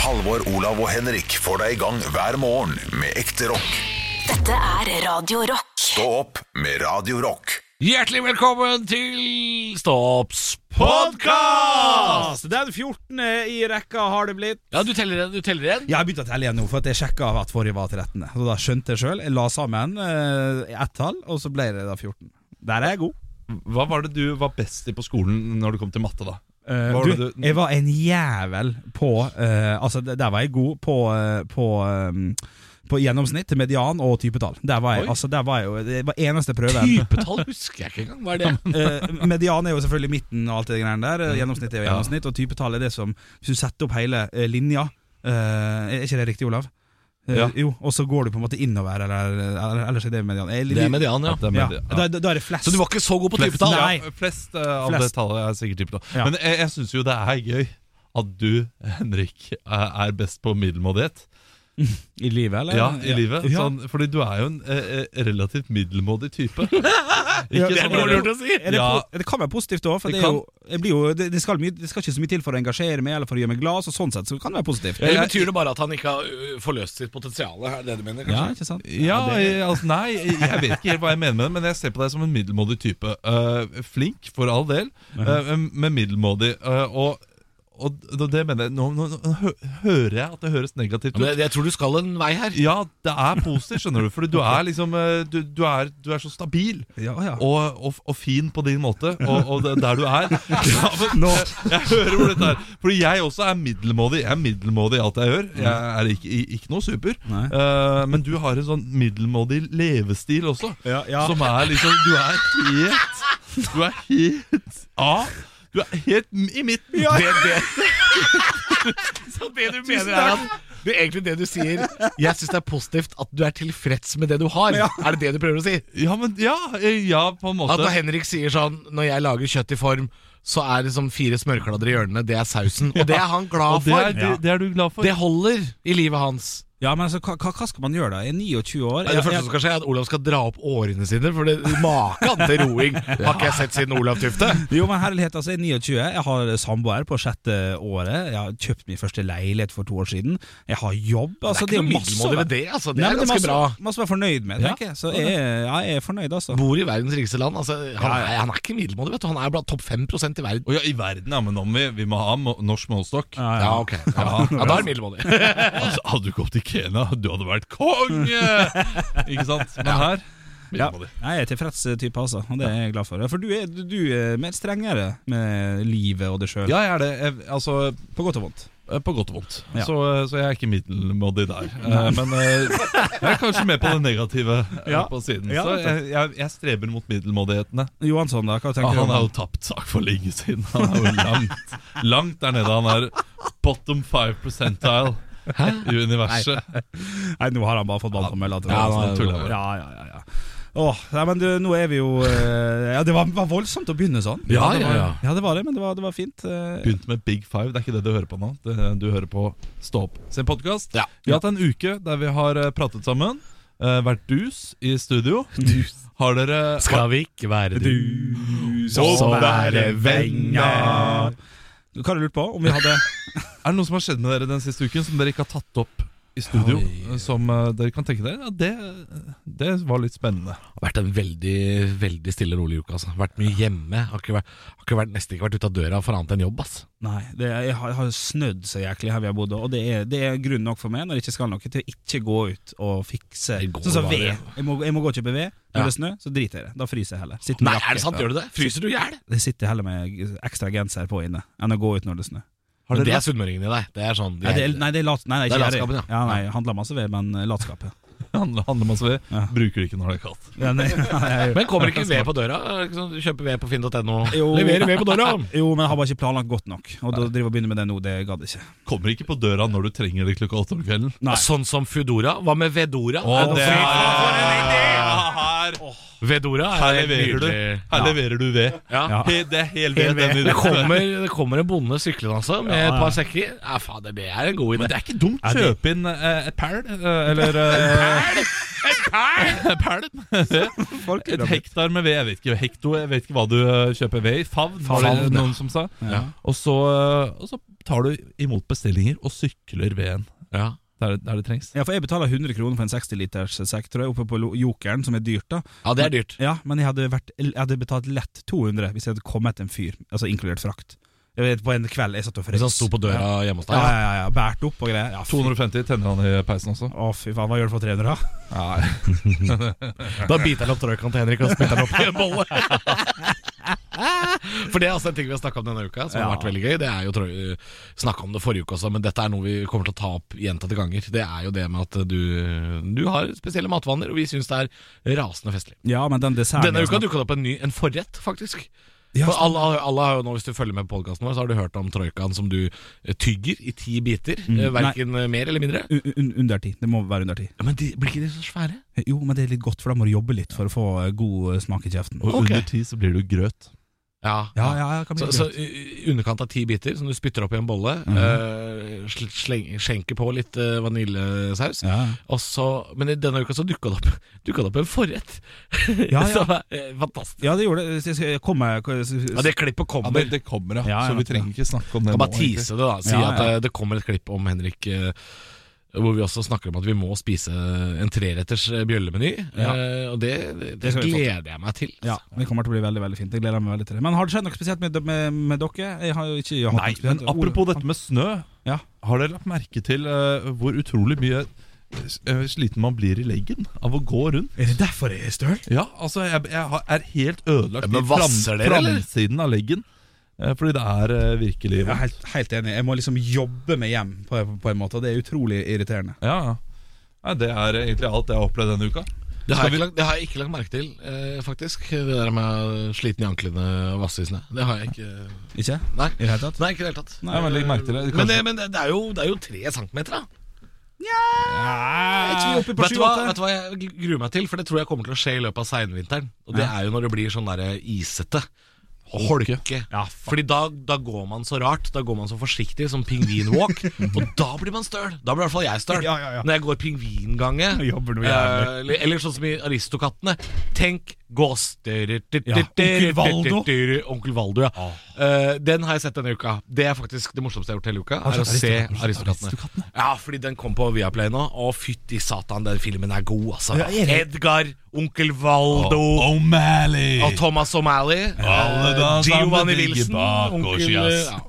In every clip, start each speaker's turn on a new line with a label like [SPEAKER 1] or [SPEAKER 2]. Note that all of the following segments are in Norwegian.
[SPEAKER 1] Halvor, Olav og Henrik får deg i gang hver morgen med ekte rock.
[SPEAKER 2] Dette er Radio Rock.
[SPEAKER 1] Stå opp med Radio Rock.
[SPEAKER 3] Hjertelig velkommen til Stopps podkast!
[SPEAKER 4] Den 14. i rekka har det blitt.
[SPEAKER 3] Ja, du teller igjen, du teller igjen.
[SPEAKER 4] Jeg har begynt å telle igjen nå, for at jeg sjekka at forrige var 13. Så da skjønte jeg sjøl. Jeg la sammen eh, ett tall, og så ble det da 14. Der er jeg god.
[SPEAKER 5] Hva var det du var best i på skolen når det kom til matte, da?
[SPEAKER 4] Eh,
[SPEAKER 5] Hva var
[SPEAKER 4] du,
[SPEAKER 5] det du-
[SPEAKER 4] jeg var en jævel på eh, Altså, d- der var jeg god på, eh, på eh, på gjennomsnitt, median og typetall. Der var jeg,
[SPEAKER 3] Oi.
[SPEAKER 4] altså, der var jeg jo Det var eneste prøven.
[SPEAKER 3] Typetall husker jeg ikke engang. Hva er det?
[SPEAKER 4] Eh, median er jo selvfølgelig midten og alt det greiene der. Eh, Gjennomsnitt er jo gjennomsnitt, og typetall er det som Hvis du setter opp hele eh, linja eh, Er ikke det riktig, Olav? Eh,
[SPEAKER 5] Ja.
[SPEAKER 4] Jo, og så går du på en måte innover, eller, eller ellers er det median. Jeg-
[SPEAKER 3] Det er median, ja.
[SPEAKER 4] Ja, da, da, da er det flest.
[SPEAKER 3] Så du var ikke så god på
[SPEAKER 5] Flest,
[SPEAKER 3] typetall?
[SPEAKER 4] Nei.
[SPEAKER 5] ja, flest eh, av
[SPEAKER 4] Flest.
[SPEAKER 5] det tallet er sikkert typetall.
[SPEAKER 4] Ja.
[SPEAKER 5] Men jeg, jeg syns jo det er gøy at du, Henrik, eh, er best på middelmådighet
[SPEAKER 4] I livet, eller?
[SPEAKER 5] ja, i livet.
[SPEAKER 4] Ja.
[SPEAKER 5] Sånn, fordi du er jo en eh, eh, relativt middelmådig type. Ikke
[SPEAKER 4] det er
[SPEAKER 5] sånn-
[SPEAKER 4] dårlig
[SPEAKER 3] å si.
[SPEAKER 4] Er det,
[SPEAKER 5] Ja.
[SPEAKER 4] po- det kan være positivt òg, for
[SPEAKER 5] Det
[SPEAKER 4] det, er jo, jeg blir jo, det, det, skal mye, det skal ikke så mye til for å engasjere meg eller for å gjøre meg glad, så sånn sett så kan det være positivt.
[SPEAKER 3] Eller betyr det bare at han ikke har ø, forløst sitt potensial? Er det det du mener,
[SPEAKER 4] Ja,
[SPEAKER 3] kanskje?
[SPEAKER 4] ikke sant?
[SPEAKER 5] Ja, jeg- altså, nei, jeg jeg vet ikke helt hva jeg mener med det, men jeg ser på deg som en middelmådig type. Eh, flink, for all del, eh, men middelmådig. Eh, og, og det- det mener jeg Nå, nå, nå hø- hører jeg at det høres negativt
[SPEAKER 3] Men
[SPEAKER 5] ut.
[SPEAKER 3] jeg, jeg tror du skal en vei her.
[SPEAKER 5] Ja, det er positivt, skjønner du. Fordi du er liksom eh, Du, du, er, du er så stabil.
[SPEAKER 4] Ja, ja.
[SPEAKER 5] Og, og, og fin på din måte, og, og det- der du er. Ja, men, jeg, jeg hører hvor dette er. Fordi jeg også er middelmådig. Jeg er middelmådig i alt jeg gjør. Jeg er ikke, i- ikke noe super.
[SPEAKER 4] Mm. Nei.
[SPEAKER 5] Eh, men du har en sånn middelmådig levestil også.
[SPEAKER 4] Ja, ja.
[SPEAKER 5] Som er liksom Du er helt Du er helt A. Du er helt i midten.
[SPEAKER 3] Det, det. Så det du mener er at det er egentlig det du sier Jeg syns det er positivt at du er tilfreds med det du har. Er det det du prøver å si?
[SPEAKER 5] Ja, men ja, eh, ja, på en måte.
[SPEAKER 3] At når Henrik sier sånn Når jeg lager kjøtt i form, så er det som fire smørkladder i hjørnene, det er sausen. Og det er han
[SPEAKER 5] og
[SPEAKER 3] glad
[SPEAKER 5] det er,
[SPEAKER 3] for.
[SPEAKER 5] det, det er du glad for.
[SPEAKER 3] Det holder i livet hans.
[SPEAKER 4] ja, men altså, hva, hva- hva skal man gjøre da? Jeg er 29 år.
[SPEAKER 3] Det første som skal skje, er at Olav skal dra opp årene sine. For det maken til roing har ikke jeg sett siden Olav Tufte.
[SPEAKER 4] Jo, men herlighet, altså, jeg er 29, jeg har samboer på sjette året, jeg har kjøpt min første leilighet for to år siden, jeg har jobb, altså, det er jo masse å
[SPEAKER 3] middelmådig
[SPEAKER 4] være-
[SPEAKER 3] ved det, altså. Det
[SPEAKER 4] Nei,
[SPEAKER 3] er
[SPEAKER 4] men det er
[SPEAKER 3] ganske
[SPEAKER 4] masse,
[SPEAKER 3] bra.
[SPEAKER 4] masse å være fornøyd med, tenker jeg, så jeg, er- ja, jeg er fornøyd, altså.
[SPEAKER 3] Bor i verdens rikeste land. Altså, han,
[SPEAKER 4] Ja,
[SPEAKER 3] er, han er ikke middelmådig, vet du. Han er blant topp 5 i verden.
[SPEAKER 5] Å ja, i verden, ja, men om vi, vi må ha må, norsk målestokk.
[SPEAKER 4] Ja,
[SPEAKER 3] Ja, ok. Ja, ja da er det middelmådig.
[SPEAKER 5] Altså, hadde du gått til Kenya, du hadde vært konge! Ikke sant? Men her
[SPEAKER 4] Ja.
[SPEAKER 5] middelmådig.
[SPEAKER 4] Nei, Jeg er tilfreds type, altså, og det er jeg glad for. For du er, du- du er mer strengere med livet og deg sjøl,
[SPEAKER 5] Ja, jeg er det. Jeg, altså,
[SPEAKER 4] på godt og vondt.
[SPEAKER 5] eh, på godt og vondt.
[SPEAKER 4] Ja.
[SPEAKER 5] Så, eh, så jeg er ikke middelmådig der. Eh, Men eh, jeg er kanskje med på det negative eh,
[SPEAKER 4] Ja.
[SPEAKER 5] på siden.
[SPEAKER 4] Ja,
[SPEAKER 5] Så
[SPEAKER 4] vet du.
[SPEAKER 5] jeg, jeg, jeg streber mot middelmådighetene.
[SPEAKER 4] Johansson, da, hva
[SPEAKER 5] Ah,
[SPEAKER 4] tenker du?
[SPEAKER 5] han
[SPEAKER 4] om
[SPEAKER 5] er jo tapt sak for lenge siden. Han er jo langt, langt der nede. Han er bottom five percentile i universet.
[SPEAKER 4] Nei, nå har han bare fått vann på mølla. tror jeg.
[SPEAKER 3] Ja, nå er
[SPEAKER 4] Altså,
[SPEAKER 5] det tull,
[SPEAKER 4] ja, ja, ja, ja. Åh, nei, men du, nå er vi jo eh, Ja, det var, var voldsomt å begynne sånn.
[SPEAKER 3] Ja,
[SPEAKER 4] det
[SPEAKER 3] ja,
[SPEAKER 4] var,
[SPEAKER 3] ja.
[SPEAKER 4] det var det, men det var, det var fint. eh.
[SPEAKER 5] Begynte med Big Five. Det er ikke det du hører på nå. Det, du hører på Stå opp sin podkast.
[SPEAKER 3] Ja.
[SPEAKER 5] Vi har hatt en uke der vi har eh, pratet sammen. eh, vært dus i studio. Har dere
[SPEAKER 3] Skal vi ikke være du,
[SPEAKER 5] så være venner.
[SPEAKER 4] Hva har du lurt på? Om vi hadde
[SPEAKER 5] Er det noe som har skjedd med dere den siste uken som dere ikke har tatt opp i studio? eh, Som eh, dere kan tenke dere? Ja, det, det var litt spennende.
[SPEAKER 3] Det har vært en veldig veldig stille og rolig uke. altså Vært mye hjemme. Har, ikke vært, har ikke vært, nesten ikke vært ute av døra for annet enn jobb. altså. ass
[SPEAKER 4] Nei, det er, jeg har, jeg har snødd så jæklig her vi har bodd, og det er, det er grunn nok for meg når jeg ikke skal noe, til å ikke gå ut og fikse
[SPEAKER 3] Det går
[SPEAKER 4] Sånn som
[SPEAKER 3] bare,
[SPEAKER 4] ved.
[SPEAKER 3] ja.
[SPEAKER 4] Jeg må, jeg må gå og kjøpe ved. Når
[SPEAKER 3] Ja.
[SPEAKER 4] det er snø, så driter jeg i det. Da fryser jeg heller. Sitter med
[SPEAKER 3] Nei, er det
[SPEAKER 4] jakke.
[SPEAKER 3] sant? Gjør du det? Fryser du i hjel?
[SPEAKER 4] Jeg sitter heller med ekstra genser på inne enn å gå ut når det er snø.
[SPEAKER 3] Men Det er sunnmøringen i deg. Det er sånn
[SPEAKER 4] Nei, det er, nei, det er, lat, nei, det
[SPEAKER 3] Det er
[SPEAKER 4] er ikke
[SPEAKER 3] latskapen,
[SPEAKER 4] ja.
[SPEAKER 3] ja.
[SPEAKER 4] ja nei, jeg handler masse ved, men eh, latskap. ja.
[SPEAKER 5] Handler, handler masse ved.
[SPEAKER 4] Ja.
[SPEAKER 5] Bruker det ikke når det er kaldt.
[SPEAKER 4] Ja, nei, nei,
[SPEAKER 3] Men kommer ikke ved på døra? Er det ikke sånn, du Kjøper ved på finn.no.
[SPEAKER 4] Jo.
[SPEAKER 3] Leverer ved på døra!
[SPEAKER 4] jo, men jeg har bare ikke planlagt godt nok, og da driver jeg og begynner med det nå, det gadd jeg ikke.
[SPEAKER 5] Kommer ikke på døra når du trenger det klokka åtte om kvelden.
[SPEAKER 4] Nei.
[SPEAKER 3] Sånn som Foodora. Hva med Vedora?
[SPEAKER 5] Å,
[SPEAKER 3] Er det-
[SPEAKER 5] det er, her her,
[SPEAKER 3] Vedora
[SPEAKER 5] her
[SPEAKER 3] er helt
[SPEAKER 5] leverer du.
[SPEAKER 3] nydelig.
[SPEAKER 5] Her leverer du ved.
[SPEAKER 3] Ja.
[SPEAKER 4] Ja.
[SPEAKER 5] He, det er hel ved.
[SPEAKER 4] Hel ved.
[SPEAKER 5] den i
[SPEAKER 3] Det
[SPEAKER 5] det.
[SPEAKER 3] kommer, det kommer en bonde syklende altså, med
[SPEAKER 4] Ja,
[SPEAKER 3] et
[SPEAKER 4] ja.
[SPEAKER 3] par sekker. Ja, fader, det er en god idé.
[SPEAKER 5] Men det er ikke dumt å
[SPEAKER 4] Er det-
[SPEAKER 5] kjøpe inn eh, et pæl, eh, eller eh, pæl?
[SPEAKER 4] Folk
[SPEAKER 5] Et hektar med ved. Jeg vet ikke, hekto, jeg vet ikke hva du eh, kjøper ved i. Favn, var det
[SPEAKER 3] Favn, ja.
[SPEAKER 5] noen som sa.
[SPEAKER 4] Ja.
[SPEAKER 5] Og så, eh, og så tar du imot bestillinger og sykler veden
[SPEAKER 3] Ja.
[SPEAKER 5] der, der det trengs.
[SPEAKER 4] Ja, for jeg betaler 100 kroner for en 60-liters sekk, tror jeg, oppe på lo- Jokeren, som er dyrt, da.
[SPEAKER 3] ja, det er dyrt.
[SPEAKER 4] Ja, men jeg hadde, vært, jeg hadde betalt lett 200 hvis jeg hadde kommet en fyr, altså inkludert frakt. Jeg vet, på en kveld jeg satt og frøs.
[SPEAKER 3] Hvis han sto på
[SPEAKER 4] Ja,
[SPEAKER 3] døra hjemme hos
[SPEAKER 4] ja,
[SPEAKER 3] deg.
[SPEAKER 4] ja, ja, ja Bært opp og greier. Ja, fy-
[SPEAKER 5] 250 tenner han i peisen også.
[SPEAKER 4] Å, fy faen, hva gjør du for 300, da?
[SPEAKER 3] Da biter han opp trøykan til Henrik og spytter han opp i en bolle. For det er altså en ting vi har snakka om denne uka, som har
[SPEAKER 4] Ja.
[SPEAKER 3] vært veldig gøy. Det er jo trøy- snakket om det forrige uke også, men dette er noe vi kommer til å ta opp gjentatte ganger. Det er jo det med at du, du har spesielle matvaner, og vi syns det er rasende festlig.
[SPEAKER 4] Ja, men den desserten
[SPEAKER 3] Denne
[SPEAKER 4] jeg
[SPEAKER 3] uka
[SPEAKER 4] snakket-
[SPEAKER 3] dukka det opp en ny en forrett, faktisk.
[SPEAKER 4] Ja,
[SPEAKER 3] For alle, alle har jo nå, Hvis du følger med på podkasten vår, så har du hørt om troikaen som du eh, tygger i ti biter. Mm. Verken mer eller mindre.
[SPEAKER 4] Un- un- Under ti. Det må være under ti.
[SPEAKER 3] Ja, men de, blir ikke de så svære?
[SPEAKER 4] Jo, men det er litt godt, for da må du jobbe litt for å få eh, god eh, smak i kjeften.
[SPEAKER 5] Og
[SPEAKER 3] Ok.
[SPEAKER 5] under ti så blir du grøt.
[SPEAKER 3] Ja.
[SPEAKER 4] Ja, ja, ja, kan bli
[SPEAKER 3] Så, så i i underkant av ti biter som du spytter opp i en bolle,
[SPEAKER 4] Mhm.
[SPEAKER 3] eh, sl- sleng, skjenker på litt eh, vaniljesaus.
[SPEAKER 4] ja.
[SPEAKER 3] Og så, men i denne uka så dukka det opp, dukket det opp en forrett
[SPEAKER 4] Ja, ja.
[SPEAKER 3] som er eh, fantastisk.
[SPEAKER 4] ja, det gjorde det. Jeg skal komme
[SPEAKER 3] Ja, det klippet
[SPEAKER 5] Ja,
[SPEAKER 3] kommer.
[SPEAKER 5] det, det kommer, ja.
[SPEAKER 4] Ja, ja,
[SPEAKER 5] Så vi
[SPEAKER 4] ja.
[SPEAKER 5] trenger ikke snakke om det
[SPEAKER 3] kan
[SPEAKER 5] nå.
[SPEAKER 3] bare
[SPEAKER 5] egentlig.
[SPEAKER 3] tease det, da. Si
[SPEAKER 4] Ja,
[SPEAKER 3] at
[SPEAKER 4] ja.
[SPEAKER 3] eh, det kommer et klipp om Henrik eh, hvor vi også snakker om at vi må spise en treretters eh, bjøllemeny.
[SPEAKER 4] Ja.
[SPEAKER 3] eh, og det, det,
[SPEAKER 4] Det skal vi få til.
[SPEAKER 3] gleder jeg meg til.
[SPEAKER 4] Ja, det kommer til å bli veldig veldig fint. Jeg gleder meg veldig til det. Men har det skjedd noe spesielt med, med, med dere? Jeg har jo ikke hatt
[SPEAKER 5] Nei,
[SPEAKER 4] noe spesielt.
[SPEAKER 5] men apropos dette med snø.
[SPEAKER 4] Ja.
[SPEAKER 5] Har dere lagt merke til eh, hvor utrolig mye eh, sliten man blir i leggen av å gå rundt?
[SPEAKER 4] Er det derfor jeg er støl?
[SPEAKER 5] Ja, altså, jeg, jeg har- er helt ødelagt
[SPEAKER 3] Men
[SPEAKER 5] i
[SPEAKER 3] vasser dere, eller?
[SPEAKER 5] framsiden av leggen. eh, fordi det er eh, virkelig
[SPEAKER 4] Jeg er helt, helt enig. Jeg må liksom jobbe meg hjem på, på en måte, og det er utrolig irriterende.
[SPEAKER 5] Ja, ja. Nei, Det er egentlig alt jeg har opplevd denne uka.
[SPEAKER 3] Det har, jeg
[SPEAKER 5] Skal vi-
[SPEAKER 3] ikke, lagt- det har jeg ikke lagt merke til, eh, faktisk. Det der med sliten i anklene og vasse i snø. Det har jeg ikke.
[SPEAKER 4] Ikke?
[SPEAKER 3] Nei,
[SPEAKER 4] I det hele tatt?
[SPEAKER 3] Nei ikke i det hele tatt.
[SPEAKER 5] Nei, men legg merke til det.
[SPEAKER 3] Men, det,
[SPEAKER 5] Kanskje-
[SPEAKER 3] men det, det, er jo, det er jo tre centimeter, da.
[SPEAKER 4] Jeg tror vi er oppe på
[SPEAKER 3] Vet du, hva,
[SPEAKER 4] sju-åtte.
[SPEAKER 3] vet du hva jeg gl- gruer meg til? For det tror jeg kommer til å skje i løpet av seinvinteren. Og det er jo når det blir sånn der isete. Og holke. Fordi da, da går man så rart. Da går man så forsiktig, som pingvinwalk. og da blir man støl. Da blir i hvert fall jeg støl.
[SPEAKER 4] Ja, ja, ja.
[SPEAKER 3] Når jeg går pingvingange.
[SPEAKER 4] Nå jobber du
[SPEAKER 3] eh,
[SPEAKER 4] jævlig.
[SPEAKER 3] eller- eller sånn som i Aristokattene. Tenk gås
[SPEAKER 4] Onkel Valdo.
[SPEAKER 3] Onkel Valdo, ja. Eh, den har jeg sett denne uka. Det er faktisk det morsomste jeg har gjort hele uka. Er å se Aristokattene. Ja, fordi den kom på Viaplay nå. Å, fytti satan, den filmen er god, altså. Edgar, Onkel Valdo
[SPEAKER 5] O'Malley!
[SPEAKER 3] og Thomas O'Malley.
[SPEAKER 5] Alle da
[SPEAKER 3] eh, Giovanni
[SPEAKER 5] sammen ligger
[SPEAKER 3] Wilson.
[SPEAKER 5] bak oss,
[SPEAKER 3] Onkel
[SPEAKER 5] yes.
[SPEAKER 3] ja.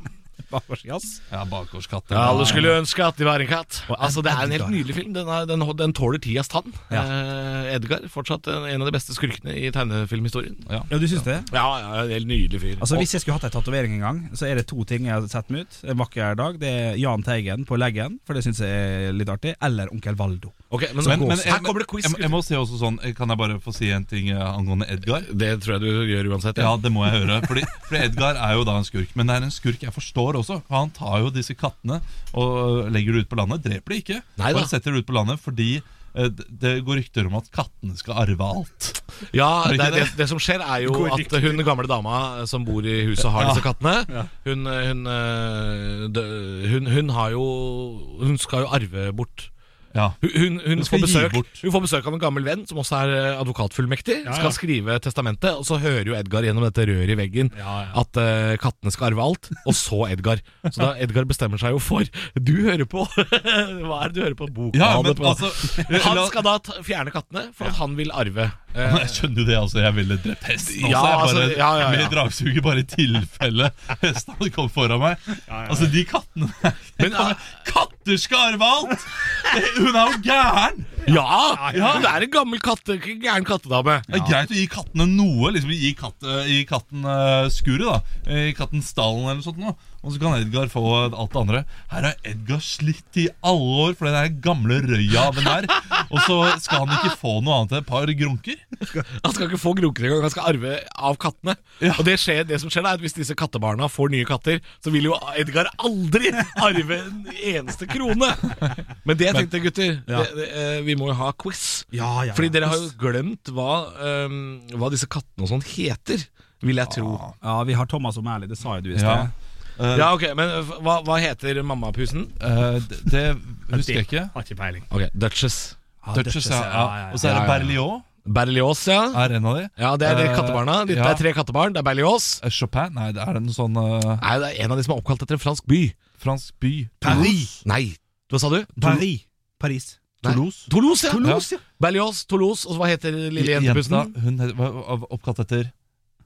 [SPEAKER 5] Ja, bakgårdskatter.
[SPEAKER 3] Ja, alle skulle ønske at de var en katt.
[SPEAKER 4] Og
[SPEAKER 3] Altså, Det er en
[SPEAKER 4] Edgar.
[SPEAKER 3] helt nydelig film. Den, er, den, den tåler tidas tann.
[SPEAKER 4] Ja.
[SPEAKER 3] Eh, Edgar, fortsatt en en av de beste skurkene i tegnefilmhistorien.
[SPEAKER 4] Ja, du syns det?
[SPEAKER 3] Ja, ja, en helt nydelig fyr.
[SPEAKER 4] Altså Hvis jeg skulle hatt ei tatovering en gang, så er det to ting jeg har sett meg ut. En vakker dag. Det er Jahn Teigen på leggen, for det syns jeg er litt artig. Eller onkel Valdo.
[SPEAKER 3] Ok, men,
[SPEAKER 5] Men, men,
[SPEAKER 3] Her kommer det quiz.
[SPEAKER 5] jeg, jeg må si også sånn, eh, Kan jeg bare få si en ting eh, angående Edgar?
[SPEAKER 3] Det tror jeg du gjør uansett.
[SPEAKER 5] Ja, det må jeg høre. Fordi, fordi Edgar er jo da en skurk. Men det er en skurk jeg forstår også. For han tar jo disse kattene og legger det ut på landet. Dreper det ikke.
[SPEAKER 3] Neida.
[SPEAKER 5] Bare setter det ut på landet fordi eh, d- det går rykter om at kattene skal arve alt.
[SPEAKER 3] Ja,
[SPEAKER 5] Er
[SPEAKER 3] det,
[SPEAKER 5] det ikke
[SPEAKER 3] er det,
[SPEAKER 5] det?
[SPEAKER 3] det som skjer er jo
[SPEAKER 5] Går
[SPEAKER 3] at
[SPEAKER 5] riktig.
[SPEAKER 3] hun gamle dama eh, som bor i huset og har disse kattene, hun, hun, eh, dø- hun, hun har jo Hun skal jo arve bort.
[SPEAKER 5] Ja.
[SPEAKER 3] Hun, hun, hun, får
[SPEAKER 5] skal gi
[SPEAKER 3] besøk,
[SPEAKER 5] bort.
[SPEAKER 3] hun får besøk av en gammel venn som også er eh, advokatfullmektig. Skal skrive testamentet, og så hører jo Edgar gjennom dette røret i veggen at eh, kattene skal arve alt. Og så Edgar. Så da Edgar bestemmer seg jo for Du hører på Hva er det du hører på? Boka?
[SPEAKER 5] Ja,
[SPEAKER 3] han
[SPEAKER 5] men
[SPEAKER 3] hører på.
[SPEAKER 5] altså,
[SPEAKER 3] han
[SPEAKER 5] la-
[SPEAKER 3] skal da ta, fjerne kattene, for at han vil arve. Eh,
[SPEAKER 5] Jeg skjønner jo det, altså. Jeg ville drept hesten også.
[SPEAKER 3] Ja,
[SPEAKER 5] jeg bare,
[SPEAKER 3] altså, ja, ja, ja.
[SPEAKER 5] Med dragsuget, bare i tilfelle hesten hadde kommet foran meg. Altså, de kattene
[SPEAKER 3] Men, ja.
[SPEAKER 5] Katter skal arve alt! Det- Hun er jo gæren!
[SPEAKER 3] Ja, men det er en gammel katte, gæren kattedame.
[SPEAKER 5] Det er greit å gi kattene noe. liksom Gi, katt, eh, gi katten eh, skuret, da. Eh, Gi katten stallen eller noe sånt. nå. Og så kan Edgar få alt det andre. Her har Edgar slitt i alle år for den der gamle røya av den der. Og så skal han ikke få noe annet enn et par grunker.
[SPEAKER 3] Han skal ikke få grunker engang, han skal arve av kattene.
[SPEAKER 5] Ja.
[SPEAKER 3] Og det, skjer, det som skjer da, er at Hvis disse kattebarna får nye katter, så vil jo Edgar aldri arve en eneste krone. Men det jeg tenkte, gutter det, det, eh, Vi må jo ha quiz.
[SPEAKER 4] Ja, ja,
[SPEAKER 3] Fordi
[SPEAKER 4] ja.
[SPEAKER 3] dere har jo glemt hva, ehm, hva disse kattene og sånn heter, vil jeg tro.
[SPEAKER 4] Ja, vi har Thomas O'Malley, det sa jo du i
[SPEAKER 5] Ja.
[SPEAKER 4] sted.
[SPEAKER 5] Eh,
[SPEAKER 3] Ja, ok, Men eh, hva, hva heter mammapusen?
[SPEAKER 5] eh, det, det husker jeg ikke.
[SPEAKER 4] Har ikke peiling.
[SPEAKER 3] Ok, Duchess.
[SPEAKER 5] Duchess, ja, ja.
[SPEAKER 3] Ja, ja,
[SPEAKER 5] Og så er det
[SPEAKER 3] ja.
[SPEAKER 5] Berlioz.
[SPEAKER 3] Berlioz, ja.
[SPEAKER 5] Er en av de.
[SPEAKER 3] Ja, Det er de
[SPEAKER 5] Eh,
[SPEAKER 3] kattebarna. Det
[SPEAKER 5] ja.
[SPEAKER 3] er tre kattebarn. Det er Berlioz.
[SPEAKER 5] Eh, Chopin? Nei, det er en sånn eh,
[SPEAKER 3] Nei, det er en av de som er oppkalt etter en fransk by.
[SPEAKER 5] fransk by.
[SPEAKER 4] Paris.
[SPEAKER 3] Nei, hva sa du?
[SPEAKER 4] Paris. Paris.
[SPEAKER 3] Nei.
[SPEAKER 5] Toulouse.
[SPEAKER 3] Toulouse, ja.
[SPEAKER 4] Toulouse, ja.
[SPEAKER 3] Berlioz, Toulouse, og så hva heter lille
[SPEAKER 5] Jenta,
[SPEAKER 3] jentepussen?
[SPEAKER 5] hun het- var var oppkalt etter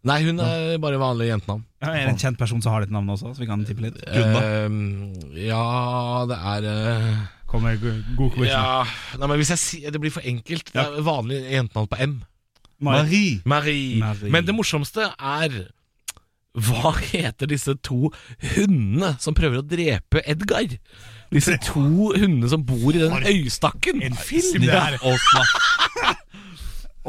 [SPEAKER 3] Nei, hun er bare vanlig jentenavn.
[SPEAKER 4] Ja, Er det en kjent person som har ditt navn også, så vi kan tippe litt?
[SPEAKER 5] Gunna.
[SPEAKER 3] Eh, ja, det er eh,
[SPEAKER 4] Kommer god quiz.
[SPEAKER 3] Ja Nei, men hvis jeg sier Det blir for enkelt. Det er vanlig jentenavn på M.
[SPEAKER 5] Marie.
[SPEAKER 3] Marie.
[SPEAKER 4] Marie.
[SPEAKER 3] Men det morsomste er Hva heter disse to hundene som prøver å drepe Edgar? Disse to hundene som bor i den øystakken. En film,
[SPEAKER 5] Sniff og snaff.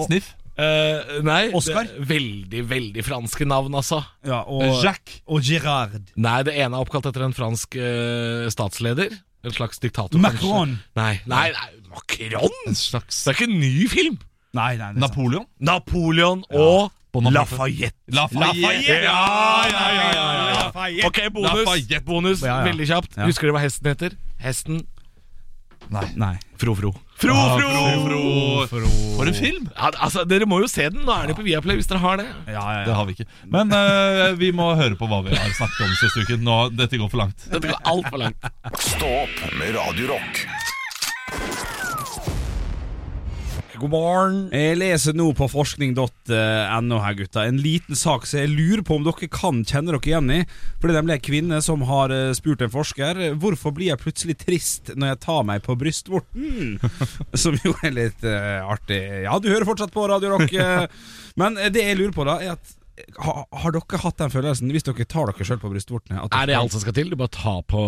[SPEAKER 5] Sniff.
[SPEAKER 3] Eh, nei,
[SPEAKER 4] Oscar?
[SPEAKER 3] det er veldig, veldig franske navn, altså.
[SPEAKER 4] Ja, og,
[SPEAKER 5] Eh, Jacques.
[SPEAKER 4] og Girard.
[SPEAKER 3] Nei, det ene er oppkalt etter en fransk eh, statsleder. En slags diktator.
[SPEAKER 4] Macron.
[SPEAKER 3] kanskje. Nei, nei, nei Macron!
[SPEAKER 5] En slags
[SPEAKER 3] Det er ikke en ny film!
[SPEAKER 4] Nei, nei, det er sant.
[SPEAKER 5] Napoleon.
[SPEAKER 3] Napoleon og
[SPEAKER 5] Bonaparte.
[SPEAKER 3] Lafayette.
[SPEAKER 5] Lafayette! Ja, ja, ja, ja, ja.
[SPEAKER 3] Ok, bonus.
[SPEAKER 5] Lafayette.
[SPEAKER 3] bonus
[SPEAKER 4] Ja, ja.
[SPEAKER 3] Veldig kjapt.
[SPEAKER 4] Ja.
[SPEAKER 3] Husker du hva hesten heter? Hesten
[SPEAKER 4] Nei.
[SPEAKER 3] Fro-Fro. Fro-Fro!
[SPEAKER 5] For en film!
[SPEAKER 3] Ja, altså, dere må jo se den. Nå er den jo på Viaplay hvis dere har det.
[SPEAKER 4] Ja, ja,
[SPEAKER 5] Det
[SPEAKER 4] ja.
[SPEAKER 5] har vi ikke. Men eh, vi må høre på hva vi har snakket om siste uken. Nå, dette går for langt.
[SPEAKER 3] Dette går altfor langt.
[SPEAKER 1] Stå opp med Radio Rock.
[SPEAKER 3] God morgen.
[SPEAKER 4] Jeg leser nå på forskning.no her, gutta. En liten sak som jeg lurer på om dere kan kjenne dere igjen i. For det er nemlig ei kvinne som har eh, spurt en forsker Hvorfor blir jeg plutselig trist når jeg tar meg på brystvorten. Som jo er litt eh, artig. Ja, du hører fortsatt på Radio Rock. eh, men eh, det jeg lurer på, da, er at eh, ha, har dere hatt den følelsen, hvis dere tar dere sjøl på brystvortene at dere-
[SPEAKER 3] Er det alt som skal til? Du bare tar på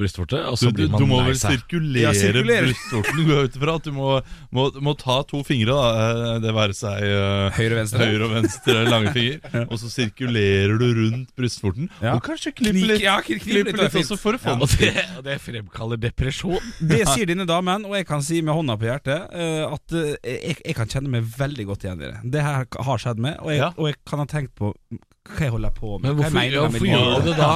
[SPEAKER 3] brystvortet, og
[SPEAKER 5] Du,
[SPEAKER 3] så blir man
[SPEAKER 5] må
[SPEAKER 3] lei
[SPEAKER 5] vel
[SPEAKER 3] seg.
[SPEAKER 5] sirkulere
[SPEAKER 4] Ja, sirkulere.
[SPEAKER 5] brystvorten. Du går ut ifra at du må, må, må ta to fingre, da. eh, det være seg eh,
[SPEAKER 4] Høyre, venstre.
[SPEAKER 5] høyre og venstre lange finger. Og så sirkulerer du rundt brystvorten.
[SPEAKER 4] Ja.
[SPEAKER 5] Og kanskje klipper
[SPEAKER 4] Knik-
[SPEAKER 5] litt,
[SPEAKER 4] ja, knipp litt,
[SPEAKER 5] klipper
[SPEAKER 4] det er
[SPEAKER 5] litt
[SPEAKER 4] fint.
[SPEAKER 5] også for å få
[SPEAKER 3] Og det, og det fremkaller depresjon.
[SPEAKER 4] Det sier denne damen, og jeg kan si med hånda på hjertet eh, at eh, jeg, jeg kan kjenne meg veldig godt igjen i det. Det her har skjedd meg, og jeg,
[SPEAKER 5] Ja.
[SPEAKER 4] og jeg kan ha tenkt på hva jeg holder på med.
[SPEAKER 3] Men hvorfor,
[SPEAKER 4] hva jeg
[SPEAKER 3] ja,
[SPEAKER 4] med
[SPEAKER 3] hvorfor
[SPEAKER 4] livet.
[SPEAKER 3] gjør du det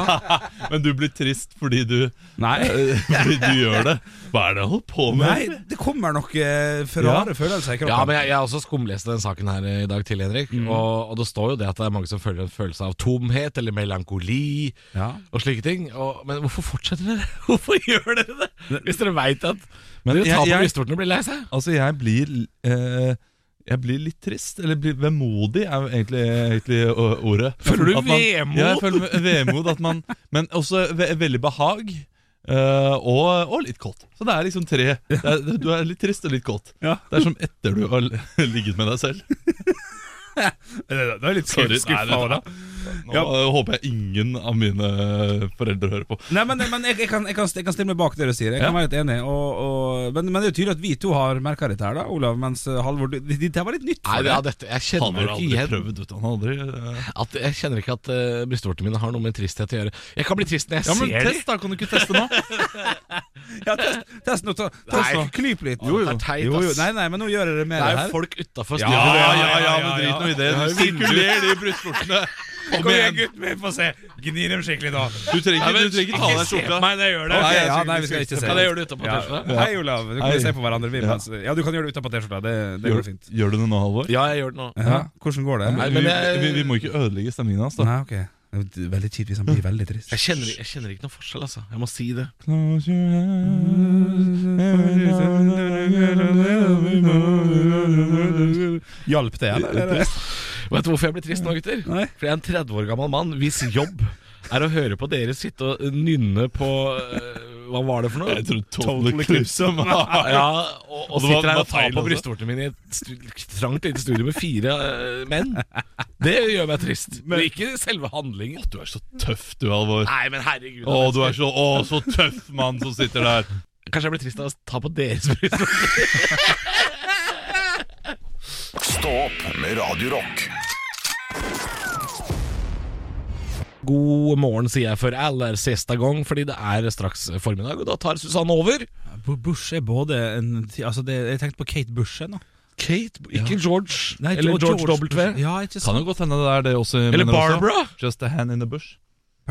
[SPEAKER 3] da?
[SPEAKER 5] Men du blir trist fordi du,
[SPEAKER 4] Nei,
[SPEAKER 5] fordi du gjør det. Hva er det jeg holder på med?
[SPEAKER 4] nei, det kommer nok eh, for
[SPEAKER 5] Ja.
[SPEAKER 4] rare følelser i kroppen.
[SPEAKER 3] Ja, men jeg, jeg har også skumlest den saken her eh, i dag til, Henrik. Og, og det står jo det at det er mange som føler en følelse av tomhet eller melankoli
[SPEAKER 4] Ja.
[SPEAKER 3] og slike ting. Og, men hvorfor fortsetter dere? Hvorfor gjør dere det? Hvis dere veit at
[SPEAKER 5] Men
[SPEAKER 3] dere tar
[SPEAKER 5] jeg-
[SPEAKER 3] på
[SPEAKER 5] jeg-
[SPEAKER 3] brystvorten og blir lei seg.
[SPEAKER 5] Altså, jeg blir eh, Jeg blir litt trist, eller blir vemodig er jo egentlig, egentlig å- ordet.
[SPEAKER 3] Føler du
[SPEAKER 5] At man-
[SPEAKER 3] vemod?
[SPEAKER 5] Ja, jeg føler ve- vemod. At man, men også ve veldig behag. eh, og, og litt kåt. Så det er liksom tre. Det er, du er litt trist og litt kåt.
[SPEAKER 4] Ja.
[SPEAKER 5] Det er som etter du har ligget med deg selv.
[SPEAKER 4] Det er litt
[SPEAKER 5] Sorry, nei, det-
[SPEAKER 4] over det.
[SPEAKER 5] Nå
[SPEAKER 4] Ja.
[SPEAKER 5] eh, håper jeg ingen av mine foreldre hører på.
[SPEAKER 4] Nei, men, men jeg, jeg, kan, jeg, kan, jeg kan stille meg bak det du sier. Jeg kan
[SPEAKER 5] Ja.
[SPEAKER 4] være litt enig. Og, og, men, men det er jo tydelig at vi to har merka dette her, da, Olav. Mens eh, Halvor du- Dette var litt nytt.
[SPEAKER 3] Nei,
[SPEAKER 4] for
[SPEAKER 3] ja,
[SPEAKER 4] deg.
[SPEAKER 3] dette, jeg
[SPEAKER 5] Han
[SPEAKER 3] kjenner
[SPEAKER 5] har
[SPEAKER 3] jo ikke
[SPEAKER 5] aldri
[SPEAKER 3] igjen
[SPEAKER 5] prøvd, vet du. Han har aldri eh,
[SPEAKER 3] at, Jeg kjenner ikke at eh, brystvortene mine har noe med tristhet å gjøre. Jeg kan bli trist når jeg
[SPEAKER 5] Ja, men
[SPEAKER 3] ser
[SPEAKER 5] test, da. Kan du ikke teste nå?
[SPEAKER 4] ja, test, test nå. Ta, test
[SPEAKER 3] Nei.
[SPEAKER 4] nå. Klyp litt.
[SPEAKER 3] Jo, jo. Det er teit,
[SPEAKER 4] jo, jo.
[SPEAKER 3] ass.
[SPEAKER 4] Nei, nei, men nå gjør jeg det med
[SPEAKER 3] Det
[SPEAKER 4] det,
[SPEAKER 3] er jo
[SPEAKER 4] her.
[SPEAKER 3] folk utafor
[SPEAKER 5] Ja,
[SPEAKER 3] studioet.
[SPEAKER 5] ja, ja, men drit nå i det. Du sirkulerer de brystvortene. Kom igjen.
[SPEAKER 4] gutt min, få se. Gni dem skikkelig, da.
[SPEAKER 5] Du trenger ikke, du trenger ikke ta av deg skjorta.
[SPEAKER 3] meg når jeg gjør
[SPEAKER 5] det.
[SPEAKER 4] Ok,
[SPEAKER 5] Nei, jeg
[SPEAKER 4] ja,
[SPEAKER 5] skal
[SPEAKER 4] nei,
[SPEAKER 5] ikke-
[SPEAKER 4] vi skal ikke se
[SPEAKER 3] Kan jeg gjøre det utenpå
[SPEAKER 4] Ja.
[SPEAKER 3] T-skjorta?
[SPEAKER 4] Hei, Olav. Du kan
[SPEAKER 5] Hei.
[SPEAKER 4] vi se på hverandre. Vi,
[SPEAKER 5] Ja.
[SPEAKER 4] mens, ja, du kan gjøre det utenpå T-skjorta. Det, det går
[SPEAKER 5] Gjør,
[SPEAKER 4] fint.
[SPEAKER 5] gjør du det nå, Halvor?
[SPEAKER 3] Ja, jeg gjør det nå.
[SPEAKER 4] Ja, Hvordan går det?
[SPEAKER 3] Nei,
[SPEAKER 5] vi,
[SPEAKER 3] men jeg-
[SPEAKER 5] vi, vi må ikke ødelegge stemningen hans, da.
[SPEAKER 4] Nei, ok. Det er Veldig kjipt hvis han blir veldig trist.
[SPEAKER 3] Jeg kjenner, jeg kjenner ikke noen forskjell, altså. Jeg må si det.
[SPEAKER 4] Hjalp det, eller?
[SPEAKER 3] Vet du hvorfor jeg blir trist nå, gutter?
[SPEAKER 4] Nei.
[SPEAKER 3] For jeg er en 30 år gammel mann hvis jobb er å høre på dere sitte og eh, nynne på øh, Hva var det for noe?
[SPEAKER 5] Jeg tror Total Eclipse av meg.
[SPEAKER 3] Ja, og, og
[SPEAKER 5] det var-
[SPEAKER 3] sitter her
[SPEAKER 5] var
[SPEAKER 3] og tar
[SPEAKER 5] feil
[SPEAKER 3] på
[SPEAKER 5] også.
[SPEAKER 3] brystvortene mine i et stu trangt lite studio med fire øh, menn. Det gjør meg trist. Men ikke selve handlingen.
[SPEAKER 5] Du er så tøff, du, Halvor.
[SPEAKER 3] Nei, men herregud.
[SPEAKER 5] Å, du er så, å, så tøff mann som sitter der.
[SPEAKER 3] Kanskje jeg blir trist av å ta på deres bryst.
[SPEAKER 1] Stå opp med Radio Rock.
[SPEAKER 3] God morgen, sier jeg for aller siste gang, fordi det er straks formiddag, og da tar Susanne over.
[SPEAKER 4] Bush er både en altså det, Jeg tenkte på Kate Bush. jeg, nå.
[SPEAKER 3] Kate, ikke George.
[SPEAKER 4] Nei,
[SPEAKER 3] eller
[SPEAKER 4] og
[SPEAKER 3] George, W.
[SPEAKER 4] Ja, ikke
[SPEAKER 5] Kan
[SPEAKER 4] sant.
[SPEAKER 5] jo godt hende det er det også. jeg
[SPEAKER 3] Eller
[SPEAKER 5] mener også.
[SPEAKER 3] Barbara.
[SPEAKER 5] Just a hand in the bush.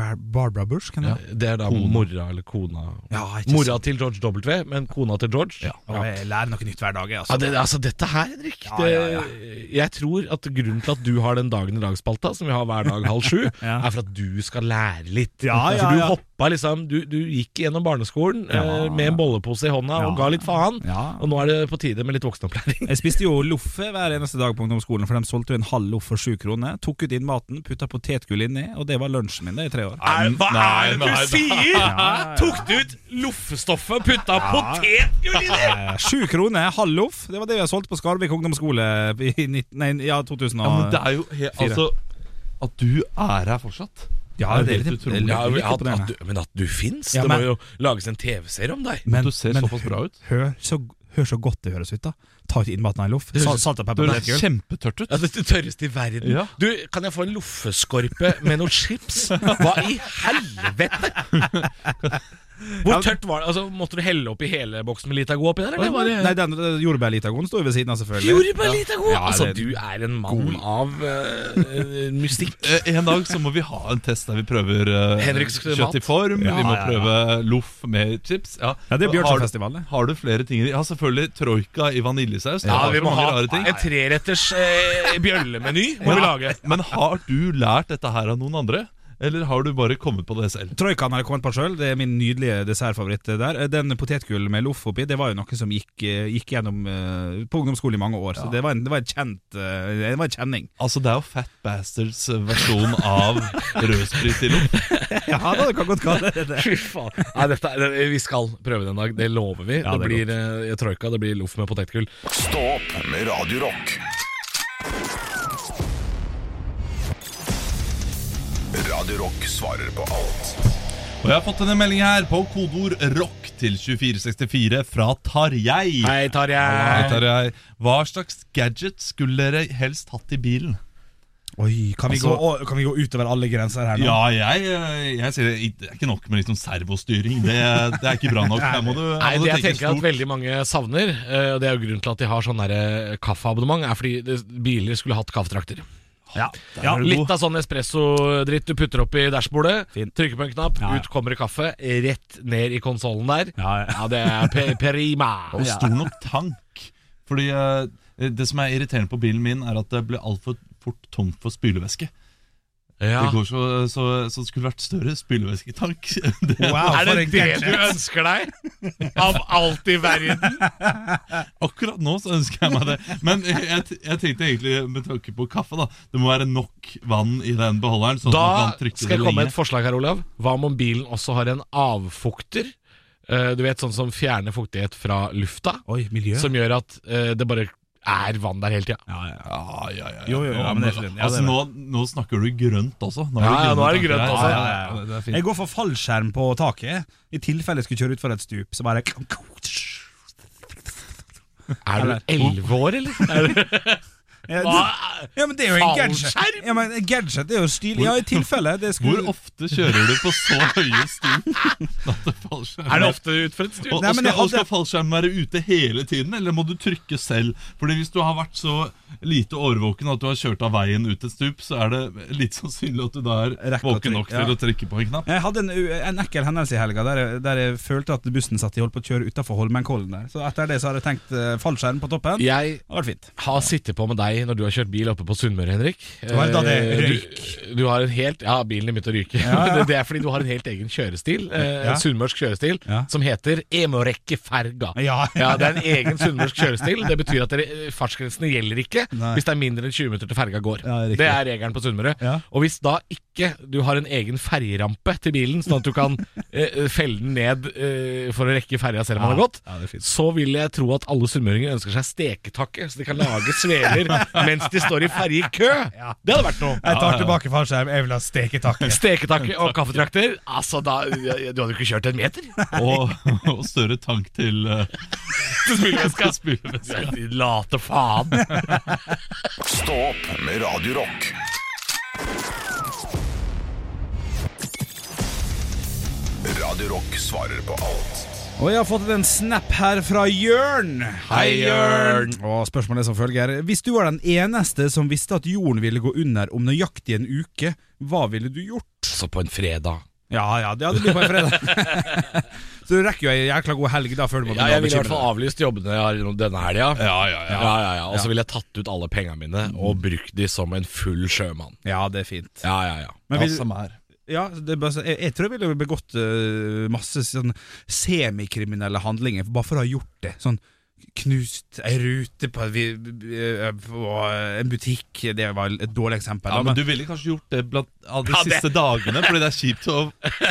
[SPEAKER 4] Bar Barbara Bush, kan det være?
[SPEAKER 3] Det er da mora eller kona
[SPEAKER 4] Ja, ikke
[SPEAKER 3] Mora
[SPEAKER 4] sant.
[SPEAKER 3] til George W, men kona til George. Ja,
[SPEAKER 4] Å, Jeg lærer noe nytt hver dag. jeg,
[SPEAKER 3] Ja,
[SPEAKER 4] Altså.
[SPEAKER 3] det, altså Dette her, Henrik
[SPEAKER 4] Ja, ja, ja.
[SPEAKER 3] Det, Jeg tror at grunnen til at du har den dagen i dag-spalta, som vi har hver dag halv sju,
[SPEAKER 4] Ja.
[SPEAKER 3] er for at du skal lære litt.
[SPEAKER 4] Ja, ja,
[SPEAKER 3] for du
[SPEAKER 4] ja.
[SPEAKER 3] hoppa liksom Du, du gikk gjennom barneskolen
[SPEAKER 4] Ja.
[SPEAKER 3] eh, med en bollepose i hånda
[SPEAKER 4] Ja.
[SPEAKER 3] og ga litt faen.
[SPEAKER 4] Ja.
[SPEAKER 3] Og nå er det på tide med litt voksenopplæring.
[SPEAKER 4] Jeg spiste jo loffe hver eneste dag på ungdomsskolen, for de solgte jo en halv loff for sju kroner. Tok ut inn maten, putta potetgull inni, og det var lunsjen min det i tre år.
[SPEAKER 5] Er- hva er det du
[SPEAKER 3] sier?!
[SPEAKER 4] Ja, ja.
[SPEAKER 3] Tok du ut loffestoffet, putta potetgull i det?!
[SPEAKER 4] Eh, Sju kroner, halv loff, det var det vi har solgt på Skarvik ungdomsskole i 19, nei, ja, 2000
[SPEAKER 5] Ja, men
[SPEAKER 4] og
[SPEAKER 5] det er jo he- Altså, at du er her fortsatt.
[SPEAKER 4] Ja, det er
[SPEAKER 5] helt
[SPEAKER 4] litt-
[SPEAKER 5] utrolig.
[SPEAKER 4] det er
[SPEAKER 3] Ja,
[SPEAKER 4] litt
[SPEAKER 3] at,
[SPEAKER 4] imponerende.
[SPEAKER 3] at du, men at du fins?
[SPEAKER 4] Ja,
[SPEAKER 3] det
[SPEAKER 4] men-
[SPEAKER 3] må jo lages en TV-serie om deg.
[SPEAKER 5] du ser såpass bra ut.
[SPEAKER 4] Hør så, hør så godt det høres ut, da. Ta ikke inn maten av en loff. Sal, salt og
[SPEAKER 5] Du
[SPEAKER 4] pepper.
[SPEAKER 5] er
[SPEAKER 4] potetgull.
[SPEAKER 5] kjempetørt ut.
[SPEAKER 3] Ja, det er det tørreste i verden.
[SPEAKER 5] Ja.
[SPEAKER 3] Du, Kan jeg få en loffeskorpe med noen chips? Hva i helvete?! Hvor tørt var det? Altså, Måtte du helle oppi hele boksen med Litago oppi der? eller var det-
[SPEAKER 4] Nei, den den jordbærlitagoen står jo ved siden av, selvfølgelig.
[SPEAKER 3] Jordbær Litago!
[SPEAKER 4] Ja,
[SPEAKER 3] altså,
[SPEAKER 4] det-
[SPEAKER 3] du er en mann av eh, eh, mystikk.
[SPEAKER 5] Eh, En dag så må vi ha en test der vi prøver eh,
[SPEAKER 3] Henriks mat.
[SPEAKER 5] kjøtt i form. vi må
[SPEAKER 4] ja, ja.
[SPEAKER 5] prøve loff med chips. Ja,
[SPEAKER 4] Ja, det er
[SPEAKER 5] Har du-
[SPEAKER 4] Bjørnsonfestivalen, det.
[SPEAKER 5] Har du flere ting? i- Ja, selvfølgelig troika i vaniljesaus. Det
[SPEAKER 3] Ja,
[SPEAKER 5] var
[SPEAKER 3] vi
[SPEAKER 5] så
[SPEAKER 3] må
[SPEAKER 5] mange
[SPEAKER 3] ha
[SPEAKER 5] rare ting.
[SPEAKER 3] en treretters eh, bjøllemeny. Må vi lage.
[SPEAKER 5] Men har du lært dette her av noen andre? Eller har du bare kommet på det selv?
[SPEAKER 4] Troikaen har jeg kommet på sjøl, det er min nydelige dessertfavoritt der. Den potetgull med loff oppi, det var jo noe som gikk, gikk gjennom eh, på ungdomsskolen i mange år. Så det var en, det var en kjent eh, Det var en kjenning.
[SPEAKER 5] Altså, Det er jo Fat Bastards versjon av rødsprit i loff.
[SPEAKER 4] Ja, det kan godt kalle det det.
[SPEAKER 3] Fy faen. Nei, dette, er- vi skal prøve det en dag. Det lover vi.
[SPEAKER 4] Ja,
[SPEAKER 3] det,
[SPEAKER 4] det er
[SPEAKER 3] blir eh, troika, det blir loff med potetgull.
[SPEAKER 1] Stå opp med Radio Rock. Radio Rock svarer på alt.
[SPEAKER 5] Og jeg har fått denne meldingen her på kodeord 'rock' til 2464 fra Tarjei.
[SPEAKER 3] Hei,
[SPEAKER 5] Hei,
[SPEAKER 3] Tarjei.
[SPEAKER 5] Tarjei. Hva slags gadget skulle dere helst hatt i bilen?
[SPEAKER 4] Oi, kan vi,
[SPEAKER 5] Altså-
[SPEAKER 4] gå, å, kan vi gå utover alle grenser her nå?
[SPEAKER 5] Ja, jeg, eh, jeg sier det. Det er ikke nok med liksom servostyring. Det, det er ikke bra nok. Her må du, her
[SPEAKER 3] Nei,
[SPEAKER 5] må
[SPEAKER 3] det
[SPEAKER 5] du
[SPEAKER 3] jeg
[SPEAKER 5] tenke
[SPEAKER 3] tenker at
[SPEAKER 5] stort.
[SPEAKER 3] veldig mange savner, eh, og det er jo grunnen til at de har sånn der, eh, kaffeabonnement, er fordi det- biler skulle hatt kaffetrakter.
[SPEAKER 4] Ja.
[SPEAKER 5] Ja,
[SPEAKER 4] Ja.
[SPEAKER 3] Litt av sånn espresso-dritt du putter opp i dashbordet,
[SPEAKER 4] Fint.
[SPEAKER 3] trykker på en knapp,
[SPEAKER 4] Ja, ja.
[SPEAKER 3] ut kommer det kaffe, rett ned i konsollen der.
[SPEAKER 4] Ja, ja.
[SPEAKER 3] Ja, det er pe prima.
[SPEAKER 5] Og stor nok tank. Fordi eh, det som er irriterende på bilen min, er at det blir altfor fort tomt for spylevæske. Det
[SPEAKER 3] Ja.
[SPEAKER 5] går så, så, så det skulle vært større spylevæsketank. Det-
[SPEAKER 4] Wow,
[SPEAKER 3] Er
[SPEAKER 4] for
[SPEAKER 3] det det
[SPEAKER 4] en
[SPEAKER 3] du
[SPEAKER 4] gadget.
[SPEAKER 3] ønsker deg? Av alt i verden?
[SPEAKER 5] Akkurat nå så ønsker jeg meg det. Men jeg, t- jeg tenkte egentlig med tanke på kaffe, da. Det må være nok vann i den beholderen. Sånn at man
[SPEAKER 3] Da
[SPEAKER 5] kan trykke
[SPEAKER 3] skal jeg
[SPEAKER 5] det
[SPEAKER 3] komme med
[SPEAKER 5] lenge.
[SPEAKER 3] et forslag her, Olav. Hva om bilen også har en avfukter? Eh, Du vet, sånn som fjerner fuktighet fra lufta.
[SPEAKER 4] Oi, miljø.
[SPEAKER 3] som gjør at eh, det bare er vann der hele tida.
[SPEAKER 4] Ja, ja.
[SPEAKER 5] Ja, ja, ja, ja.
[SPEAKER 4] Jo, jo, jo, ja, men det er fint. Ja, det
[SPEAKER 5] altså,
[SPEAKER 4] er
[SPEAKER 5] nå, nå snakker du grønt også. Nå
[SPEAKER 3] Ja, ja, nå er det
[SPEAKER 5] grønne
[SPEAKER 3] grønt
[SPEAKER 5] tanker
[SPEAKER 3] også.
[SPEAKER 5] her. Ja, ja, ja, det er fint.
[SPEAKER 4] Jeg går for fallskjerm på taket, i tilfelle jeg skulle kjøre utfor et stup. Så bare
[SPEAKER 3] Er du elleve år, eller? Er du,
[SPEAKER 4] Ja,
[SPEAKER 3] hva?
[SPEAKER 4] det- ja, men det er jo en gadget.
[SPEAKER 3] Fallskjerm?
[SPEAKER 4] Ja, men Gadget er jo stilig. Ja, i tilfelle. Det
[SPEAKER 5] Hvor
[SPEAKER 4] skulle
[SPEAKER 5] ofte kjører du på så høye stup? at det faller seg
[SPEAKER 3] er
[SPEAKER 5] ned?
[SPEAKER 3] det ofte utfor et
[SPEAKER 5] Og,
[SPEAKER 3] studio?
[SPEAKER 4] Nei,
[SPEAKER 5] og,
[SPEAKER 4] men
[SPEAKER 5] skal,
[SPEAKER 4] jeg
[SPEAKER 5] og
[SPEAKER 4] hadde-
[SPEAKER 5] skal fallskjermen være ute hele tiden, eller må du trykke selv? Fordi Hvis du har vært så lite årvåken at du har kjørt av veien ut et stup, så er det litt sannsynlig at du da er
[SPEAKER 4] Rekke å
[SPEAKER 5] våken nok
[SPEAKER 4] trykke, ja.
[SPEAKER 5] til å trykke på en knapp.
[SPEAKER 4] Jeg hadde en, en ekkel hendelse i helga der, jeg- der jeg følte at bussen satt i holdt på å kjøre utafor Holmenkollen der. Så etter det så har jeg tenkt eh, fallskjerm på toppen.
[SPEAKER 3] Jeg
[SPEAKER 4] Det har vært fint.
[SPEAKER 3] har sittet på med deg når du har kjørt bil oppe på Sunnmøre, Henrik.
[SPEAKER 4] var da det
[SPEAKER 3] Eh, Du, du har en helt Ja, bilen din begynte å ryke. det, det er fordi du har en helt egen kjørestil, eh,
[SPEAKER 4] Ja.
[SPEAKER 3] sunnmørsk kjørestil,
[SPEAKER 4] Ja.
[SPEAKER 3] som heter Emorekke ferga.
[SPEAKER 4] Ja.
[SPEAKER 3] Ja, Det er en egen sunnmørsk kjørestil. Det betyr at dere, eh, fartsgrensene gjelder ikke
[SPEAKER 4] Nei.
[SPEAKER 3] hvis det er mindre enn 20 minutter til ferga går.
[SPEAKER 4] Ja, riktig.
[SPEAKER 3] det er regelen på Sunnmøre.
[SPEAKER 4] Ja.
[SPEAKER 3] Og hvis da ikke du har en egen ferjerampe til bilen, sånn at du kan eh, felle den ned eh, for å rekke ferja selv om den har gått,
[SPEAKER 4] Ja, det er fint.
[SPEAKER 3] så vil jeg tro at alle sunnmøringer ønsker seg steketakke, så de kan lage sveler mens de står i ferjekø.
[SPEAKER 6] Ja.
[SPEAKER 3] Det hadde vært noe.
[SPEAKER 6] Jeg tar tilbake fallskjerm. Jeg vil ha steketakke.
[SPEAKER 3] Steketakke og kaffetrakter. Altså, da, ja, ja, Du hadde jo ikke kjørt en meter.
[SPEAKER 5] Og, og større tank til eh,
[SPEAKER 3] Spyleveska. Late faen.
[SPEAKER 1] Stå opp med Radio Rock. Radio Rock svarer på alt.
[SPEAKER 4] Og jeg har fått en snap her fra Jørn.
[SPEAKER 3] Hei, Jørn.
[SPEAKER 4] Og spørsmålet er som følger. Hvis du var den eneste som visste at jorden ville gå under om nøyaktig en uke, hva ville du gjort?
[SPEAKER 3] Så på en fredag.
[SPEAKER 4] Ja, ja, det hadde blitt på en fredag. Så du rekker jo ei jækla god helg da før du må
[SPEAKER 3] Ja, jeg ville i hvert fall avlyst jobbene jeg har gjennom denne helga. Ja, ja, ja. Og så ville jeg tatt ut alle pengene mine og brukt de som en full sjømann.
[SPEAKER 4] Ja, det er fint.
[SPEAKER 3] Ja, ja, ja.
[SPEAKER 4] Men vil,
[SPEAKER 5] Ja, samme her.
[SPEAKER 4] ja, det er bare, så- jeg, jeg tror jeg ville begått øh, masse sånn semikriminelle handlinger bare for å ha gjort det. Sånn knust ei rute på, vi- øh, på en butikk. Det var et dårlig eksempel.
[SPEAKER 5] Ja,
[SPEAKER 4] da,
[SPEAKER 5] men du ville kanskje gjort det blant av de
[SPEAKER 3] Ja, det-
[SPEAKER 5] siste dagene, fordi det er kjipt å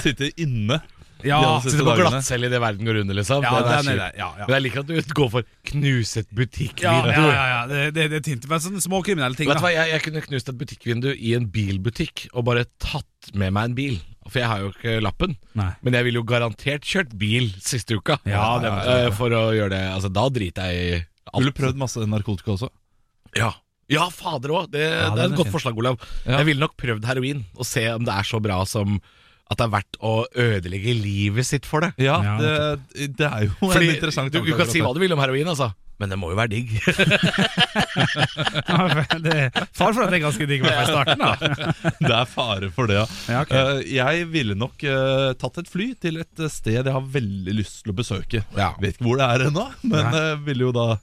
[SPEAKER 5] sitte inne.
[SPEAKER 4] Ja,
[SPEAKER 5] de aller
[SPEAKER 3] Sitte
[SPEAKER 5] siste
[SPEAKER 3] på
[SPEAKER 5] dagene.
[SPEAKER 3] glattcelle idet verden går under, liksom.
[SPEAKER 4] Ja,
[SPEAKER 3] Den er
[SPEAKER 4] den er
[SPEAKER 3] kjip.
[SPEAKER 4] det. Ja, ja.
[SPEAKER 3] Men jeg liker at du går for knuset
[SPEAKER 4] Ja,
[SPEAKER 3] butikkvindu.
[SPEAKER 4] ja, ja, ja. Det, det, det er tint. Men sånne små kriminelle ting,
[SPEAKER 3] Vet du
[SPEAKER 4] da.
[SPEAKER 3] hva, jeg, jeg kunne knust et butikkvindu i en bilbutikk og bare tatt med meg en bil. For jeg har jo ikke lappen.
[SPEAKER 4] Nei.
[SPEAKER 3] Men jeg ville jo garantert kjørt bil siste uka.
[SPEAKER 4] Ja, det må
[SPEAKER 3] Eh, For å gjøre det Altså, da driter jeg i
[SPEAKER 5] Ville prøvd masse narkotika også.
[SPEAKER 3] Ja, ja fader òg. Det, det er et
[SPEAKER 4] den er
[SPEAKER 3] godt
[SPEAKER 4] fin.
[SPEAKER 3] forslag, Olav. Jeg ville nok prøvd heroin og se om det er så bra som at det er verdt å ødelegge livet sitt for det.
[SPEAKER 5] Ja,
[SPEAKER 4] Ja,
[SPEAKER 5] det, det er jo en interessant
[SPEAKER 3] du, du kan
[SPEAKER 5] tanke,
[SPEAKER 3] si hva
[SPEAKER 5] akkurat
[SPEAKER 3] du vil om heroin, altså. Men det må jo være digg.
[SPEAKER 6] det er far for at det er ganske digg, i hvert fall i starten. da
[SPEAKER 5] det. Det er fare for det, ja.
[SPEAKER 4] Ja, ok.
[SPEAKER 5] Eh, jeg ville nok eh, tatt et fly til et eh, sted jeg har veldig lyst til å besøke.
[SPEAKER 3] Ja.
[SPEAKER 5] Vet ikke hvor det er ennå, men uh, ville jo da eh,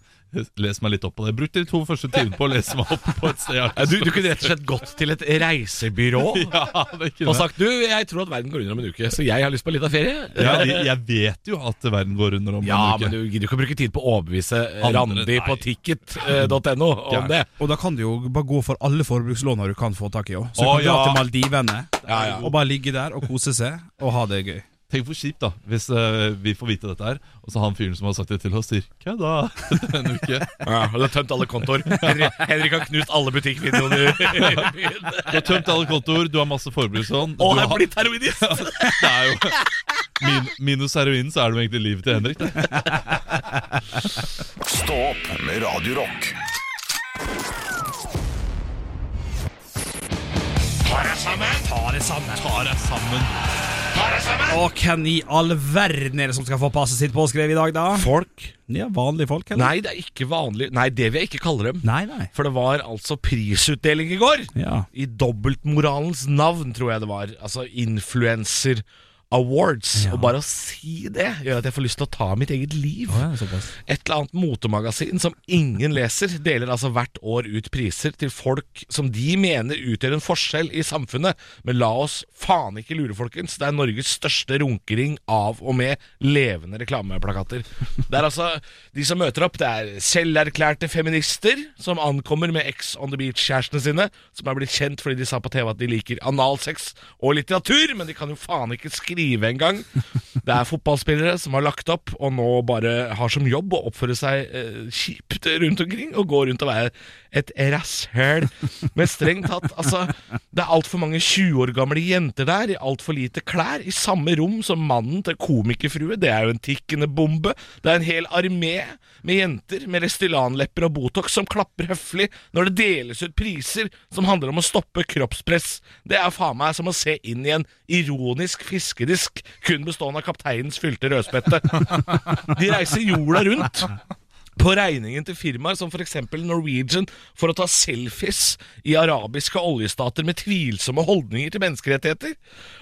[SPEAKER 5] lese meg litt opp på det. Brukte de to første timene på å lese meg opp på et sted. jeg har lyst
[SPEAKER 3] Du, du kunne rett og slett gått til et reisebyrå
[SPEAKER 5] til. Ja, det
[SPEAKER 3] og
[SPEAKER 5] kunne jeg.
[SPEAKER 3] sagt du, jeg tror at verden går under om en uke, så jeg har lyst på litt av ferie.
[SPEAKER 5] Ja, de, jeg vet jo at verden går under om
[SPEAKER 3] Ja,
[SPEAKER 5] en uke.
[SPEAKER 3] men du gidder jo ikke å bruke tid på å overbevise eh,
[SPEAKER 5] Andre-
[SPEAKER 3] Randi på eh, ticket.no om det.
[SPEAKER 4] Og da kan du jo bare gå for alle forbrukslåner du kan få tak i òg. Så du
[SPEAKER 5] Å,
[SPEAKER 4] kan dra
[SPEAKER 5] ja.
[SPEAKER 4] til Maldivene
[SPEAKER 3] Ja, ja.
[SPEAKER 4] og bare ligge der og kose seg og ha det gøy.
[SPEAKER 5] Tenk hvor kjipt da hvis eh, vi får vite dette her, og så han fyren som har sagt det til oss, sier 'kødda' etter en uke.
[SPEAKER 3] Ja, og du har tømt alle kontoer. Henrik, Henrik har knust alle butikkvideoene i byen.
[SPEAKER 5] Du har tømt alle kontoer, du har masse forbrukslån.
[SPEAKER 3] Og
[SPEAKER 5] du
[SPEAKER 3] er
[SPEAKER 5] har-
[SPEAKER 3] blitt heroinist!
[SPEAKER 5] det er jo min, Minus heroinen, så er det jo egentlig livet til Henrik. Det.
[SPEAKER 1] Stå opp med Radio Rock.
[SPEAKER 4] Og hvem i all verden er det som skal få passet sitt påskrevet i dag, da? Folk. Ja, vanlige folk, eller?
[SPEAKER 3] Nei, det er ikke vanlig. Nei, det vil jeg ikke kalle dem.
[SPEAKER 4] Nei, nei.
[SPEAKER 3] For det var altså prisutdeling i går.
[SPEAKER 4] Ja.
[SPEAKER 3] I dobbeltmoralens navn, tror jeg det var. Altså Influencer Awards. Og bare å si det gjør at jeg får lyst til å ta mitt eget liv.
[SPEAKER 4] Å, ja, såpass.
[SPEAKER 3] Et eller annet motemagasin som ingen leser, deler altså hvert år ut priser til folk som de mener utgjør en forskjell i samfunnet. Men la oss faen ikke lure, folkens. Det er Norges største runkering av og med levende reklameplakater. Det er altså De som møter opp, det er selverklærte feminister som ankommer med Ex on the Beach-kjærestene sine, som er blitt kjent fordi de sa på TV at de liker analsex og litteratur, men de kan jo faen ikke skrive engang. Det er fotballspillere som har lagt opp og nå bare har som jobb å oppføre seg eh, kjipt rundt omkring og gå rundt og være et rasshøl. Men strengt tatt, altså Det er altfor mange 20 år gamle jenter der i altfor lite klær, i samme rom som mannen til komikerfrue. Det er jo en tikkende bombe. Det er en hel armé med jenter med Restylan-lepper og Botox som klapper høflig når det deles ut priser som handler om å stoppe kroppspress. Det er faen meg som å se inn i en ironisk fiskedisk kun bestående av kapteinens fylte rødspette. De reiser jorda rundt på regningen til firmaer som f.eks. Norwegian for å ta selfies i arabiske oljestater med tvilsomme holdninger til menneskerettigheter.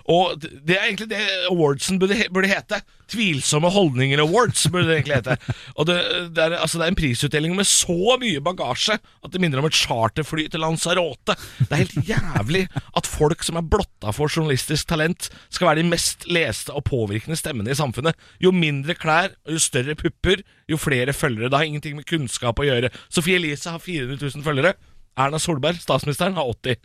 [SPEAKER 3] Og d- det er egentlig det awardsen burde, he- burde hete. Tvilsomme holdninger awards burde det egentlig hete. Og det, det, er, altså, det er en prisutdeling med så mye bagasje at det minner om et charterfly til Lanzarote. Det er helt jævlig at folk som er blotta for journalistisk talent, skal være de mest leste og påvirkende stemmene i samfunnet. Jo mindre klær og jo større pupper, jo flere følgere. Det har ingenting med kunnskap å gjøre. Sophie Elise har 400 000 følgere. Erna Solberg, statsministeren, har 80.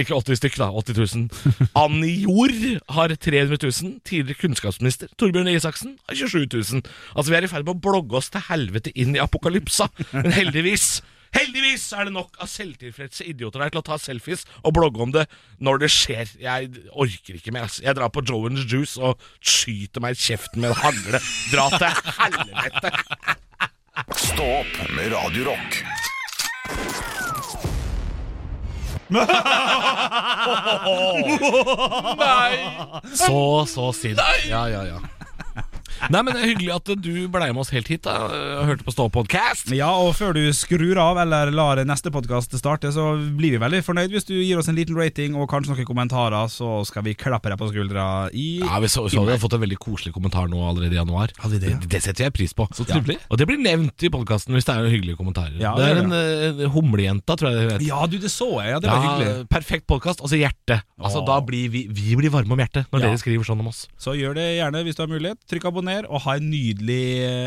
[SPEAKER 3] Ikke 80 stykk, da. 80 000. Anni Jord har 300 000. Tidligere kunnskapsminister Torbjørn Røe Isaksen har 27 000. Altså, vi er i ferd med å blogge oss til helvete inn i apokalypsa. Men heldigvis Heldigvis er det nok av selvtilfredse idioter der til å ta selfies og blogge om det når det skjer. Jeg orker ikke mer. ass. Jeg drar på Joans Juice og skyter meg i kjeften med en hagle. Dra til helvete!
[SPEAKER 1] Stå opp med Radio Rock.
[SPEAKER 3] Så, så sint. Ja, ja, ja. Nei, men det er Hyggelig at du blei med oss helt hit da og hørte på Stå podcast.
[SPEAKER 4] Ja, og før du skrur av eller lar neste podkast starte, så blir vi veldig fornøyd hvis du gir oss en liten rating og kanskje noen kommentarer, så skal vi klappe deg på skuldra i
[SPEAKER 3] Ja, vi så, så Vi har fått en veldig koselig kommentar nå allerede i januar.
[SPEAKER 4] vi det, ja?
[SPEAKER 3] det setter jeg pris på.
[SPEAKER 5] Så trivelig.
[SPEAKER 3] Og det blir nevnt i podkasten hvis det er hyggelige kommentarer.
[SPEAKER 4] Ja,
[SPEAKER 3] det er
[SPEAKER 4] ja,
[SPEAKER 3] en eh, humlejenta, tror jeg det heter.
[SPEAKER 4] Ja, du, det så jeg. Ja, det var
[SPEAKER 3] Ja,
[SPEAKER 4] hyggelig.
[SPEAKER 3] perfekt podkast. Altså hjerte. Altså,
[SPEAKER 4] Åh.
[SPEAKER 3] da blir vi, vi blir varme om hjertet når
[SPEAKER 4] Ja.
[SPEAKER 3] dere skriver sånn om oss.
[SPEAKER 4] Så gjør det gjerne hvis du har mulighet. Trykk abonner, og ha en nydelig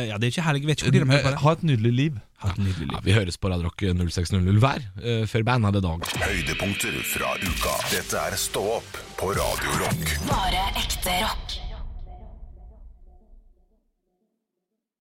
[SPEAKER 4] Ja, det er ikke helg, vet ikke hvor tid de hører på det.
[SPEAKER 5] Ha et nydelig liv.
[SPEAKER 4] Ha et nydelig liv.
[SPEAKER 3] Ja, vi høres på Radrock 0600 hver eh, før band hadde dag.
[SPEAKER 1] Høydepunkter fra uka. Dette er Stå opp på Radio Rock.
[SPEAKER 2] Bare ekte rock.